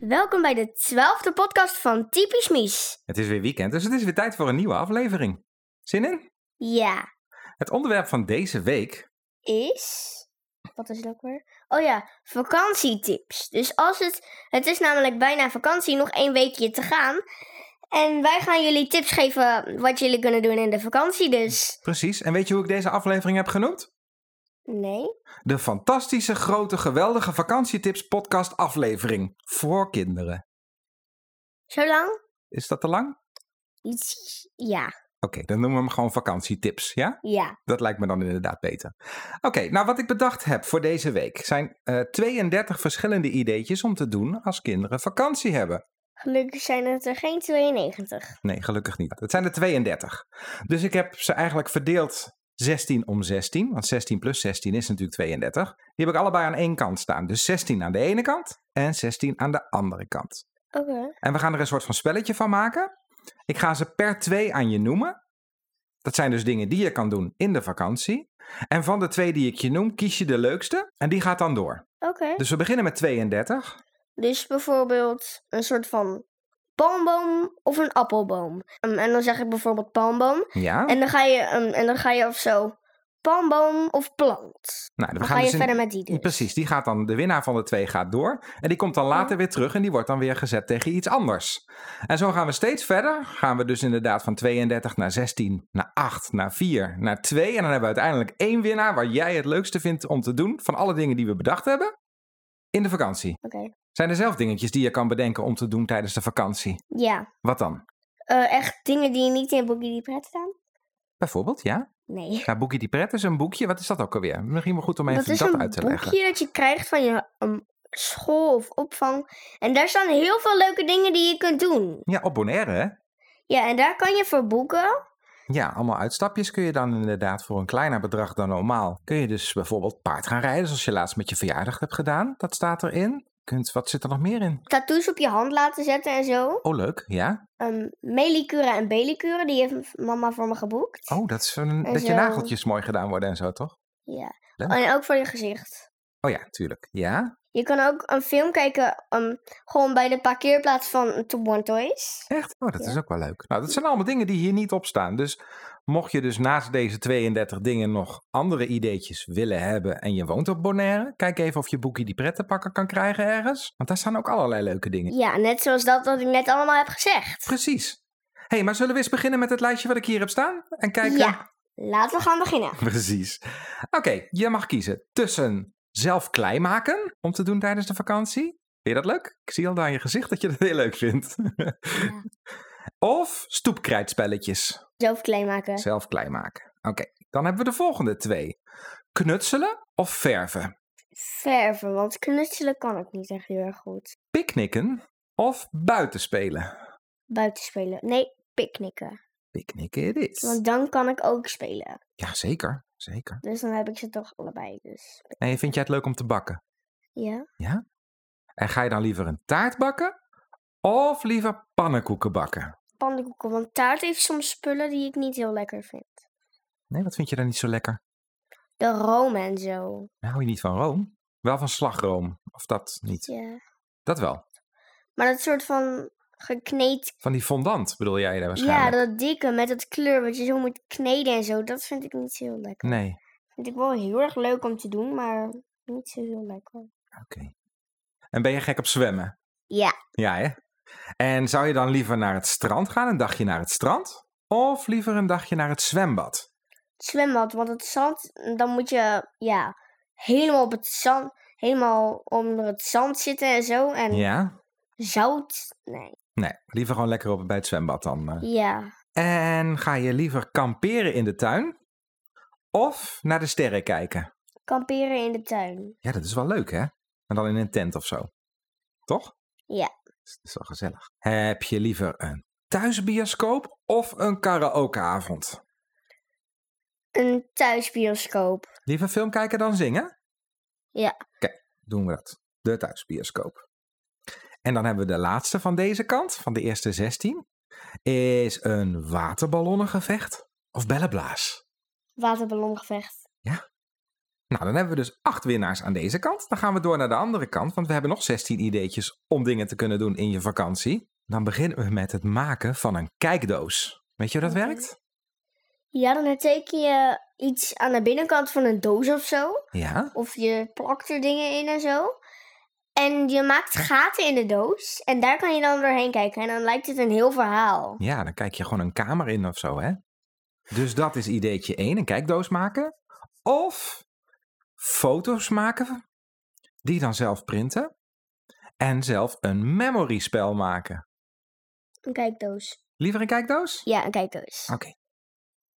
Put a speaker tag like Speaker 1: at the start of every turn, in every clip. Speaker 1: Welkom bij de twaalfde podcast van Typisch Mies.
Speaker 2: Het is weer weekend, dus het is weer tijd voor een nieuwe aflevering. Zin in?
Speaker 1: Ja,
Speaker 2: Het onderwerp van deze week.
Speaker 1: is... Wat is het ook weer? Oh ja, vakantietips. Dus als het... Het is namelijk bijna vakantie, nog één weekje te gaan. En wij gaan jullie tips geven wat jullie kunnen doen in de vakantie, dus...
Speaker 2: Precies. En weet je hoe ik deze aflevering heb genoemd?
Speaker 1: Nee?
Speaker 2: De fantastische, grote, geweldige vakantietips podcast aflevering voor kinderen.
Speaker 1: Zo lang?
Speaker 2: Is dat te lang? Oké,
Speaker 1: Iets... Ja,
Speaker 2: dan noemen we hem gewoon vakantietips, ja?
Speaker 1: ja.
Speaker 2: Dat lijkt me dan inderdaad beter. Oké, nou wat ik bedacht heb voor deze week zijn eh 32 verschillende ideetjes om te doen als kinderen vakantie hebben.
Speaker 1: Gelukkig zijn het er geen 92.
Speaker 2: Nee, gelukkig niet. Het zijn er 32. Dus ik heb ze eigenlijk verdeeld 16 om 16. Want 16 plus 16 is natuurlijk 32. Die heb ik allebei aan één kant staan. Dus 16 aan de ene kant en 16 aan de andere kant.
Speaker 1: Oké.
Speaker 2: En we gaan er een soort van spelletje van maken. Ik ga ze per twee aan je noemen. Dat zijn dus dingen die je kan doen in de vakantie. En van de twee die ik je noem, kies je de leukste. En die gaat dan door.
Speaker 1: Oké.
Speaker 2: Dus we beginnen met 32.
Speaker 1: Dus bijvoorbeeld een soort van palmboom of een appelboom. Ehm, en dan zeg ik bijvoorbeeld palmboom.
Speaker 2: Ja.
Speaker 1: En dan ga je, ehm, en dan ga je of zo palmboom of plant.
Speaker 2: nou, we
Speaker 1: Dan ga je
Speaker 2: dus in-
Speaker 1: verder met die dus.
Speaker 2: Precies, die gaat dan, de winnaar van de twee gaat door. En die komt dan later weer terug en die wordt dan weer gezet tegen iets anders. En zo gaan we steeds verder. Gaan we dus inderdaad van 32 naar 16, naar 8, naar 4, naar 2. En dan hebben we uiteindelijk één winnaar waar jij het leukste vindt om te doen van alle dingen die we bedacht hebben in de vakantie.
Speaker 1: Oké.
Speaker 2: Zijn er zelf dingetjes die je kan bedenken om te doen tijdens de vakantie?
Speaker 1: Ja.
Speaker 2: Wat dan?
Speaker 1: Eh, echt dingen die niet in Boogie die Pret staan?
Speaker 2: Bijvoorbeeld, ja?
Speaker 1: Nee.
Speaker 2: Nou, Boekie die Pret is een boekje. Wat is dat ook alweer? Misschien wel goed om even
Speaker 1: dat is
Speaker 2: dat
Speaker 1: een
Speaker 2: uit te leggen.
Speaker 1: boekje dat je krijgt van je ehm, school of opvang. En daar staan heel veel leuke dingen die je kunt doen.
Speaker 2: Ja, op Bonaire, hè?
Speaker 1: Ja, en daar kan je voor boeken.
Speaker 2: Ja, allemaal uitstapjes kun je dan inderdaad voor een kleiner bedrag dan normaal. Kun je dus bijvoorbeeld paard gaan rijden, zoals je laatst met je verjaardag hebt gedaan. Dat staat erin. Kunt, wat zit er nog meer in?
Speaker 1: Tattoos op je hand laten zetten en zo.
Speaker 2: Oh, leuk. Ja.
Speaker 1: Ehm melicuren en belicuren, die heeft mama voor me geboekt.
Speaker 2: Oh, dat is een,
Speaker 1: En eh,
Speaker 2: dat je
Speaker 1: zo.
Speaker 2: nageltjes mooi gedaan worden en zo, toch?
Speaker 1: Ja.
Speaker 2: Leuk.
Speaker 1: En ook voor je gezicht.
Speaker 2: Oh ja, tuurlijk. Ja,
Speaker 1: Je kan ook een film kijken ehm, gewoon bij de parkeerplaats van Toon Toys.
Speaker 2: echt? Oh, dat
Speaker 1: Ja.
Speaker 2: is ook wel leuk. Nou, dat zijn allemaal dingen die hier niet op staan. Dus mocht je dus naast deze 32 dingen nog andere ideetjes willen hebben en je woont op Bonaire, kijk even of je boekie die pret te pakken kan krijgen ergens. Want daar staan ook allerlei leuke dingen.
Speaker 1: Ja, net zoals dat wat ik net allemaal heb gezegd.
Speaker 2: Precies. Hé, hey, maar zullen we eens beginnen met het lijstje wat ik hier heb staan? En kijken.
Speaker 1: Ja, laten we gaan beginnen.
Speaker 2: Precies. Oké, je mag kiezen tussen zelf klei maken om te doen tijdens de vakantie. Vind je dat leuk? Ik zie al aan je gezicht dat je dat heel leuk vindt. Of stoepkrijtspelletjes.
Speaker 1: Zelf klein maken.
Speaker 2: Zelf klei maken. Oké, dan hebben we de volgende twee. Knutselen of verven.
Speaker 1: Verven, want knutselen kan ik niet echt heel erg goed.
Speaker 2: Picknicken of buitenspelen.
Speaker 1: Buiten spelen. Nee, picknicken.
Speaker 2: Picknicken it is.
Speaker 1: Want dan kan ik ook spelen.
Speaker 2: Ja, zeker. Zeker.
Speaker 1: Dus dan heb ik ze toch allebei. Dus
Speaker 2: En vind jij het leuk om te bakken?
Speaker 1: ja.
Speaker 2: En ga je dan liever een taart bakken of liever pannenkoeken bakken?
Speaker 1: Pannenkoeken, want taart heeft soms spullen die ik niet heel lekker vind.
Speaker 2: Nee, wat vind je daar niet zo lekker?
Speaker 1: De room en zo.
Speaker 2: Nou, hou je niet van room? Wel van slagroom, of dat niet?
Speaker 1: Ja.
Speaker 2: Dat wel.
Speaker 1: Maar dat soort van gekneed.
Speaker 2: Van die fondant bedoel jij daar
Speaker 1: Ja,
Speaker 2: waarschijnlijk?
Speaker 1: dat dikke met dat kleur wat je zo moet kneden en zo. Dat vind ik niet zo heel lekker.
Speaker 2: Nee,
Speaker 1: Vind ik wel heel erg leuk om te doen, maar niet zo heel lekker.
Speaker 2: oké. En ben je gek op zwemmen?
Speaker 1: Ja.
Speaker 2: Ja, hè? En zou je dan liever naar het strand gaan, een dagje naar het strand? Of liever een dagje naar het zwembad?
Speaker 1: Het zwembad, want het zand, dan moet je ja, helemaal op het zand, helemaal onder het zand zitten en zo. En
Speaker 2: Ja?
Speaker 1: zout, nee.
Speaker 2: Nee, liever gewoon lekker op bij het zwembad dan. eh.
Speaker 1: Ja,
Speaker 2: En ga je liever kamperen in de tuin? Of naar de sterren kijken?
Speaker 1: kamperen in de tuin.
Speaker 2: Ja, dat is wel leuk, hè? En dan in een tent of zo. Toch?
Speaker 1: Ja.
Speaker 2: Dat is wel gezellig. Heb je liever een thuisbioscoop of een karaokeavond?
Speaker 1: Een thuisbioscoop.
Speaker 2: Liever film kijken dan zingen?
Speaker 1: Ja.
Speaker 2: Kijk, doen we dat. De thuisbioscoop. En dan hebben we de laatste van deze kant, van de eerste 16. Is een waterballonnengevecht of bellenblaas?
Speaker 1: Waterballongevecht.
Speaker 2: Nou, dan hebben we dus acht winnaars aan deze kant. Dan gaan we door naar de andere kant, want we hebben nog 16 ideetjes om dingen te kunnen doen in je vakantie. Dan beginnen we met het maken van een kijkdoos. Weet je hoe dat
Speaker 1: Oké.
Speaker 2: werkt?
Speaker 1: Ja, dan teken je iets aan de binnenkant van een doos of zo.
Speaker 2: Ja.
Speaker 1: Of je plakt er dingen in en zo. En je maakt gaten in de doos. En daar kan je dan doorheen kijken. En dan lijkt het een heel verhaal.
Speaker 2: Ja, dan kijk je gewoon een kamer in of zo, hè? Dus dat is ideetje 1, een kijkdoos maken. Of foto's maken, die dan zelf printen. En zelf een memory spel maken.
Speaker 1: Een kijkdoos.
Speaker 2: Liever een kijkdoos?
Speaker 1: Ja, een kijkdoos.
Speaker 2: Oké.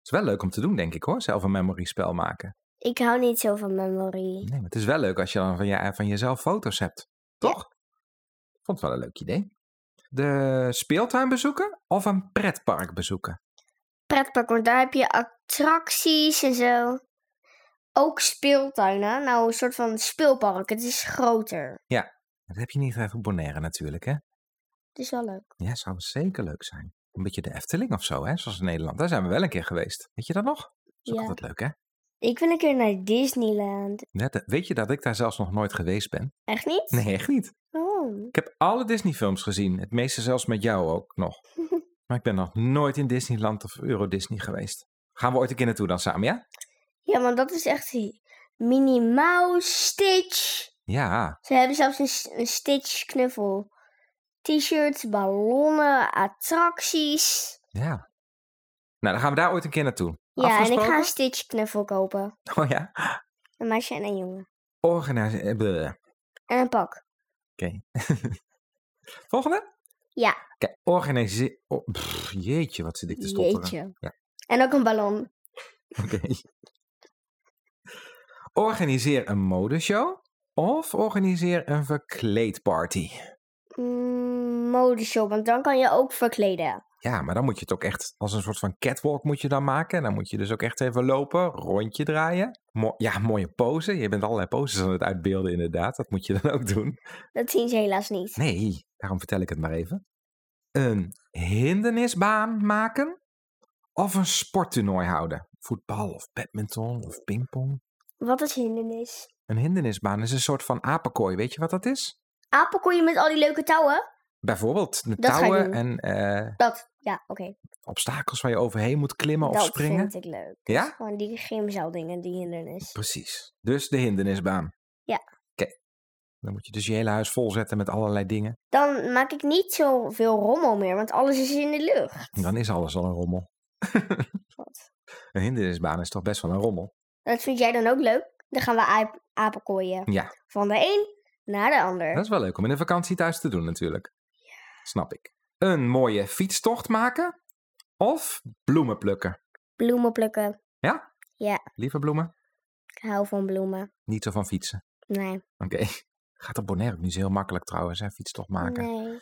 Speaker 2: is wel leuk om te doen, denk ik hoor, zelf een memory spel maken.
Speaker 1: Ik hou niet zo van memory.
Speaker 2: Nee, maar het is wel leuk als je dan van, je, eh, van jezelf foto's hebt. Toch? Ik vond het wel een leuk idee. De speeltuin bezoeken of een pretpark bezoeken?
Speaker 1: Pretpark, want daar heb je attracties en zo. Ook speeltuinen. Nou, een soort van speelpark. Het is groter.
Speaker 2: Dat heb je niet echt op Bonaire natuurlijk, hè?
Speaker 1: Het is wel leuk.
Speaker 2: Ja, zou zeker leuk zijn. Een beetje de Efteling of zo, hè? Zoals in Nederland. Daar zijn we wel een keer geweest. Weet je dat nog? Dat is ook
Speaker 1: Ja.
Speaker 2: altijd leuk, hè?
Speaker 1: Ik wil een keer naar Disneyland.
Speaker 2: Net, eh, weet je dat ik daar zelfs nog nooit geweest ben?
Speaker 1: Echt niet?
Speaker 2: Nee, echt niet.
Speaker 1: Oh.
Speaker 2: Ik heb alle Disney-films gezien. Het meeste zelfs met jou ook nog. Maar ik ben nog nooit in Disneyland of Euro Disney geweest. Gaan we ooit een keer naartoe dan samen, ja?
Speaker 1: Ja, want dat is echt die Minnie Mouse, Stitch.
Speaker 2: Ja,
Speaker 1: Ze hebben zelfs een, s- een Stitch knuffel. T-shirts, ballonnen, attracties.
Speaker 2: ja. Nou, dan gaan we daar ooit een keer naartoe.
Speaker 1: Ja, en ik
Speaker 2: Afgesproken?
Speaker 1: ga een Stitch knuffel kopen.
Speaker 2: Oh ja.
Speaker 1: Een meisje en een jongen.
Speaker 2: Organise... eh, bleh.
Speaker 1: En een pak.
Speaker 2: Volgende?
Speaker 1: Ja.
Speaker 2: Kijk, organiseer... oh, pff, jeetje, wat zit ik te stotteren.
Speaker 1: Jeetje.
Speaker 2: Ja.
Speaker 1: En ook een ballon.
Speaker 2: Oké. Organiseer een modeshow of organiseer een verkleedparty.
Speaker 1: Mm, modeshop, want dan kan je ook verkleden.
Speaker 2: Ja, maar dan moet je het ook echt als een soort van catwalk moet je dan maken. En dan moet je dus ook echt even lopen, rondje draaien. Mo- ja, mooie pose. Je bent allerlei poses aan het uitbeelden inderdaad. Dat moet je dan ook doen.
Speaker 1: Dat zien ze helaas niet.
Speaker 2: Nee, daarom vertel ik het maar even. Een hindernisbaan maken of een sporttoernooi houden. Voetbal of badminton of pingpong.
Speaker 1: Wat is hindernis?
Speaker 2: Een hindernisbaan is een soort van apenkooi. Weet je wat dat is?
Speaker 1: Apenkoeien met al die leuke touwen?
Speaker 2: Bijvoorbeeld de
Speaker 1: Dat ga ik
Speaker 2: touwen en
Speaker 1: doen.
Speaker 2: eh,
Speaker 1: Dat, ja, oké.
Speaker 2: obstakels waar je overheen moet klimmen of
Speaker 1: Dat
Speaker 2: springen.
Speaker 1: vind ik leuk.
Speaker 2: Ja?
Speaker 1: Gewoon die gymzaal dingen, die hindernis.
Speaker 2: Precies. Dus de hindernisbaan.
Speaker 1: Ja.
Speaker 2: Oké. Dan moet je dus je hele huis volzetten met allerlei dingen.
Speaker 1: Dan maak ik niet zoveel rommel meer, want alles is in de lucht.
Speaker 2: En dan is alles al een rommel.
Speaker 1: Wat?
Speaker 2: Een hindernisbaan is toch best wel een rommel.
Speaker 1: Dat vind jij dan ook leuk? Dan gaan we aap apenkooien.
Speaker 2: Ja.
Speaker 1: Van de een naar de ander.
Speaker 2: Dat is wel leuk om in de vakantie thuis te doen natuurlijk. Snap ik. Een mooie fietstocht maken of bloemen plukken.
Speaker 1: Bloemen plukken.
Speaker 2: Lieve bloemen,
Speaker 1: Ik hou van bloemen.
Speaker 2: niet zo van fietsen.
Speaker 1: Nee.
Speaker 2: Oké. Gaat op Bonaire ook niet zo heel makkelijk trouwens, hè, fietstocht maken.
Speaker 1: Nee.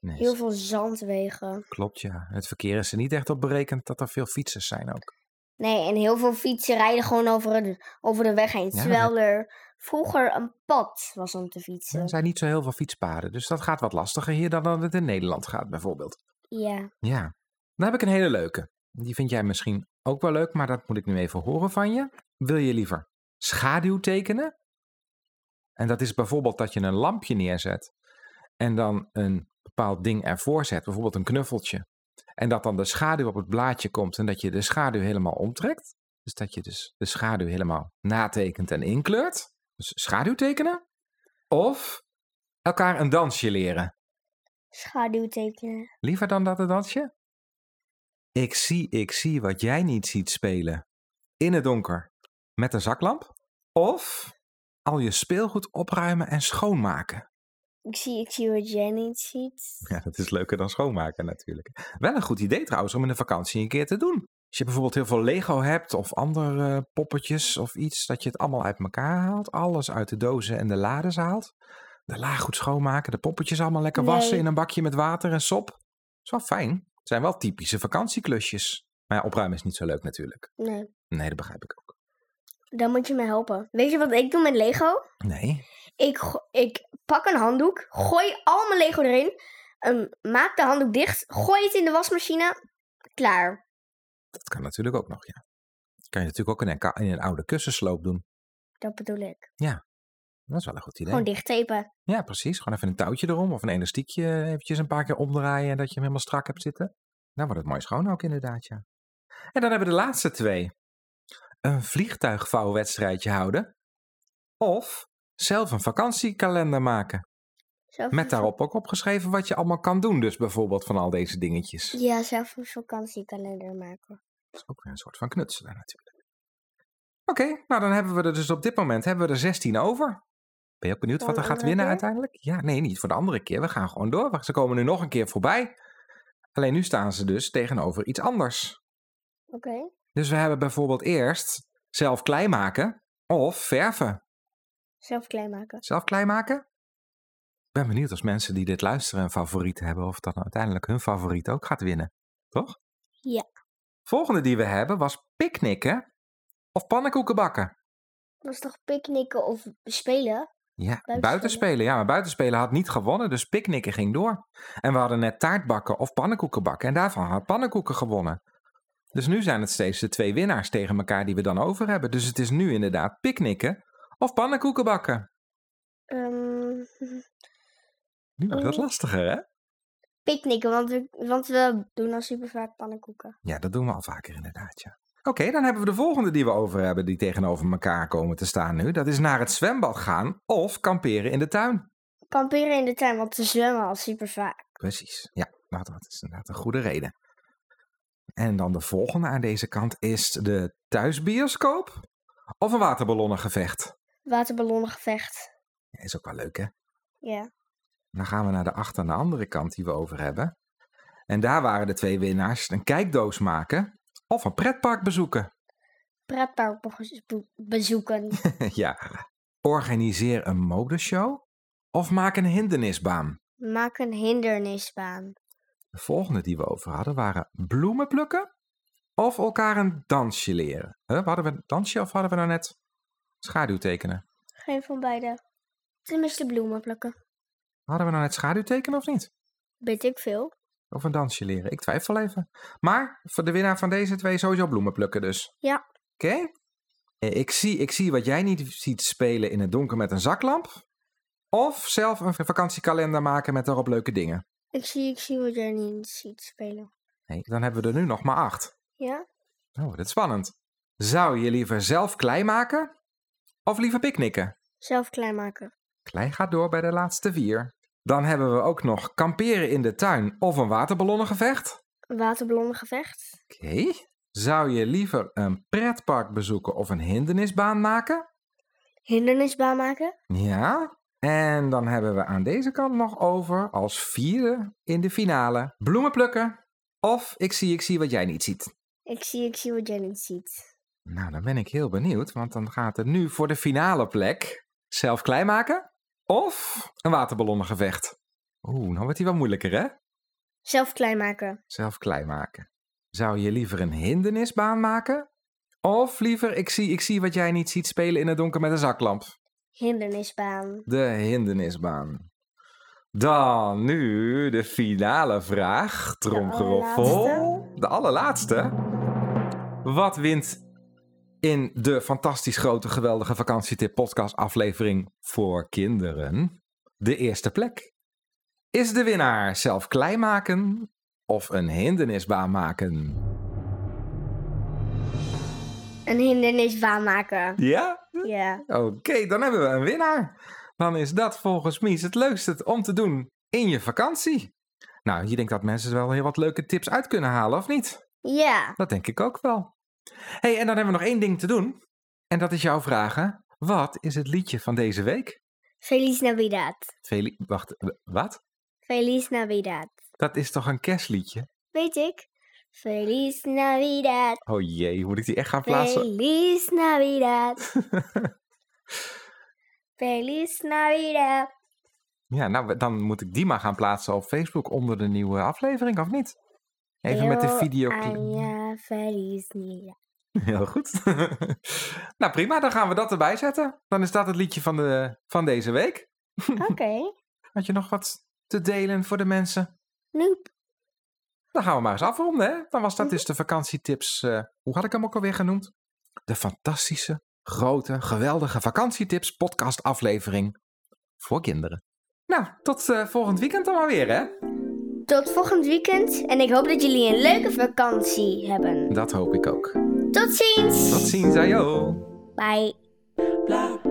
Speaker 2: Nee,
Speaker 1: Heel veel zandwegen.
Speaker 2: Klopt, ja. Het verkeer is er niet echt op berekend dat er veel fietsers zijn ook.
Speaker 1: Nee, en heel veel fietsen rijden gewoon over de, over de weg heen.
Speaker 2: Ja,
Speaker 1: terwijl er vroeger een pad was om te
Speaker 2: Er
Speaker 1: fietsen.
Speaker 2: zijn niet zo heel veel fietspaden, dus dat gaat wat lastiger hier dan dat het in Nederland gaat bijvoorbeeld.
Speaker 1: Ja.
Speaker 2: Ja, dan heb ik een hele leuke. Die vind jij misschien ook wel leuk, maar dat moet ik nu even horen van je. Wil je liever schaduw tekenen? En dat is bijvoorbeeld dat je een lampje neerzet en dan een bepaald ding ervoor zet, bijvoorbeeld een knuffeltje. En dat dan de schaduw op het blaadje komt en dat je de schaduw helemaal omtrekt. Dus dat je dus de schaduw helemaal natekent en inkleurt. Dus schaduw tekenen. Of elkaar een dansje leren.
Speaker 1: Schaduw tekenen.
Speaker 2: Liever dan dat het dansje? Ik zie, ik zie wat jij niet ziet spelen. In het donker. Met een zaklamp. Of al je speelgoed opruimen en schoonmaken.
Speaker 1: Ik zie, ik zie wat jij niet ziet.
Speaker 2: Ja, dat is leuker dan schoonmaken natuurlijk. Wel een goed idee trouwens om in de vakantie een keer te doen. Als je bijvoorbeeld heel veel Lego hebt of andere eh, poppetjes of iets, dat je het allemaal uit elkaar haalt. Alles uit de dozen en de lades haalt. De la goed schoonmaken, de poppetjes allemaal lekker wassen
Speaker 1: Nee.
Speaker 2: in een bakje met water en sop. is wel fijn. Het zijn wel typische vakantieklusjes. Maar ja, opruimen is niet zo leuk natuurlijk.
Speaker 1: Nee.
Speaker 2: Nee, dat begrijp ik ook.
Speaker 1: Dan moet je me helpen. Weet je wat ik doe met Lego?
Speaker 2: Nee.
Speaker 1: Ik, go- ik pak een handdoek, gooi al mijn Lego erin, ehm, maak de handdoek dicht, gooi het in de wasmachine, klaar.
Speaker 2: Dat kan natuurlijk ook nog, ja. Kan je natuurlijk ook in een, ka- in een oude kussensloop doen.
Speaker 1: Dat bedoel ik.
Speaker 2: Dat is wel een goed idee.
Speaker 1: Gewoon dicht tapen.
Speaker 2: Ja, precies. Gewoon even een touwtje erom of een elastiekje eventjes een paar keer omdraaien en dat je hem helemaal strak hebt zitten. Dan wordt het mooi schoon ook inderdaad, ja. En dan hebben we de laatste twee. Een vliegtuigvouwwedstrijdje houden. Of zelf een vakantiekalender maken.
Speaker 1: Zelf een
Speaker 2: Met daarop ook opgeschreven wat je allemaal kan doen dus bijvoorbeeld van al deze dingetjes.
Speaker 1: vak- Ja, zelf een vakantiekalender maken.
Speaker 2: Dat is ook weer een soort van knutselen natuurlijk. Oké, nou dan hebben we er dus op dit moment hebben we er 16 over. Ben je ook benieuwd
Speaker 1: Voor
Speaker 2: wat
Speaker 1: de
Speaker 2: er gaat
Speaker 1: andere
Speaker 2: winnen
Speaker 1: keer?
Speaker 2: uiteindelijk? Ja, nee, niet voor de andere keer. We gaan gewoon door. want Ze komen nu nog een keer voorbij. Alleen nu staan ze dus tegenover iets anders.
Speaker 1: Oké.
Speaker 2: Dus we hebben bijvoorbeeld eerst zelf klei maken of verven.
Speaker 1: Zelf klein maken.
Speaker 2: Zelf klei maken? Ik ben benieuwd als mensen die dit luisteren een favoriet hebben, of dat dan uiteindelijk hun favoriet ook gaat winnen. Toch?
Speaker 1: Ja.
Speaker 2: Volgende die we hebben was picknicken of pannenkoeken bakken.
Speaker 1: Dat is toch picknicken of spelen?
Speaker 2: Ja,
Speaker 1: Buitenspelen.
Speaker 2: buitenspelen. Ja, maar buitenspelen had niet gewonnen, dus picknicken ging door. En we hadden net taartbakken of pannenkoeken bakken. En daarvan had pannenkoeken gewonnen. Dus nu zijn het steeds de twee winnaars tegen elkaar die we dan over hebben. Dus het is nu inderdaad picknicken of pannenkoeken bakken.
Speaker 1: Ehm,
Speaker 2: Nu wordt dat
Speaker 1: Oh.
Speaker 2: lastiger, hè?
Speaker 1: picknicken, want we, want we doen al super vaak pannenkoeken.
Speaker 2: Ja, dat doen we al vaker inderdaad, ja. Oké, dan hebben we de volgende die we over hebben, die tegenover elkaar komen te staan nu. Dat is naar het zwembad gaan of kamperen in de tuin.
Speaker 1: Kamperen in de tuin, want we zwemmen al super vaak.
Speaker 2: Precies, ja, nou, dat is inderdaad een goede reden. En dan de volgende aan deze kant is de thuisbioscoop of een waterballonnengevecht.
Speaker 1: Waterballonnengevecht.
Speaker 2: Ja, is ook wel leuk, hè?
Speaker 1: Ja.
Speaker 2: Dan gaan we naar de achter aan de andere kant die we over hebben. En daar waren de twee winnaars een kijkdoos maken of een pretpark bezoeken.
Speaker 1: Pretpark be- be- bezoeken.
Speaker 2: ja, organiseer een modeshow of maak een hindernisbaan.
Speaker 1: Maak een hindernisbaan.
Speaker 2: De volgende die we over hadden waren bloemen plukken of elkaar een dansje leren. Huh? Hadden we een dansje of hadden we nou net schaduwtekenen?
Speaker 1: Geen van beide. Tenminste bloemen plukken.
Speaker 2: Hadden we nou net schaduwtekenen of niet?
Speaker 1: Weet ik veel.
Speaker 2: Of een dansje leren? Ik twijfel even. Maar voor de winnaar van deze twee sowieso bloemen plukken dus.
Speaker 1: Ja.
Speaker 2: Oké. Eh, Ik zie, ik zie wat jij niet ziet spelen in het donker met een zaklamp. Of zelf een vakantiekalender maken met daarop leuke dingen.
Speaker 1: Ik zie, ik zie wat jij niet ziet spelen.
Speaker 2: Nee, dan hebben we er nu nog maar acht.
Speaker 1: Ja?
Speaker 2: Oh, dat is spannend. Zou je liever zelf klei maken of liever picknicken?
Speaker 1: Zelf klein maken.
Speaker 2: Klei gaat door bij de laatste vier. Dan hebben we ook nog kamperen in de tuin of een waterballonnengevecht.
Speaker 1: Een waterballonnengevecht.
Speaker 2: Oké. Zou je liever een pretpark bezoeken of een hindernisbaan maken?
Speaker 1: Hindernisbaan maken.
Speaker 2: Ja. En dan hebben we aan deze kant nog over als vierde in de finale bloemen plukken of ik zie, ik zie wat jij niet ziet.
Speaker 1: Ik zie, ik zie wat jij niet ziet.
Speaker 2: Nou, dan ben ik heel benieuwd, want dan gaat het nu voor de finale plek zelf klein maken of een waterballonnengevecht. Oeh, nou wordt die wel moeilijker, hè?
Speaker 1: Zelf klein maken.
Speaker 2: Zelf klein maken. Zou je liever een hindernisbaan maken? Of liever, ik zie, ik zie wat jij niet ziet spelen in het donker met een zaklamp.
Speaker 1: Hindernisbaan.
Speaker 2: De hindernisbaan. Dan nu de finale vraag. Tromgeroffel.
Speaker 1: allerlaatste.
Speaker 2: De allerlaatste. Wat wint in de fantastisch grote, geweldige vakantietip podcast aflevering voor kinderen de eerste plek? Is de winnaar zelf klein maken of een hindernisbaan maken?
Speaker 1: Een hindernisbaan maken.
Speaker 2: Ja?
Speaker 1: Ja.
Speaker 2: Oké, dan hebben we een winnaar. Dan is dat volgens Mies het leukste om te doen in je vakantie. Nou, je denkt dat mensen er wel heel wat leuke tips uit kunnen halen, of niet?
Speaker 1: Ja.
Speaker 2: Dat denk ik ook wel. hey, en dan hebben we nog één ding te doen. En dat is jouw vragen. Wat is het liedje van deze week?
Speaker 1: Feliz Navidad.
Speaker 2: Feli Wacht, w- wat?
Speaker 1: Feliz Navidad.
Speaker 2: Dat is toch een kerstliedje?
Speaker 1: Weet ik. Feliz Navidad.
Speaker 2: Oh jee, moet ik die echt gaan plaatsen?
Speaker 1: Feliz Navidad. Feliz Navidad.
Speaker 2: Ja, nou, dan moet ik die maar gaan plaatsen op Facebook onder de nieuwe aflevering, of niet? Even met de
Speaker 1: Yo,
Speaker 2: videoclip.
Speaker 1: ah, Ja, Feliz Navidad.
Speaker 2: Heel goed. nou prima, dan gaan we dat erbij zetten. Dan is dat het liedje van, de, van deze week.
Speaker 1: Oké.
Speaker 2: Had je nog wat te delen voor de mensen?
Speaker 1: Noep.
Speaker 2: Dan gaan we maar eens Mhm. afronden. Hè? Dan was dat dus de vakantietips. eh, hoe had ik hem ook alweer genoemd? De fantastische grote, geweldige vakantietips podcast aflevering voor kinderen. Nou, tot eh, volgend weekend dan maar weer, hè?
Speaker 1: Tot volgend weekend en ik hoop dat jullie een leuke vakantie hebben.
Speaker 2: Dat hoop ik ook.
Speaker 1: Tot ziens!
Speaker 2: Tot ziens, ajo!
Speaker 1: Bye.
Speaker 3: blah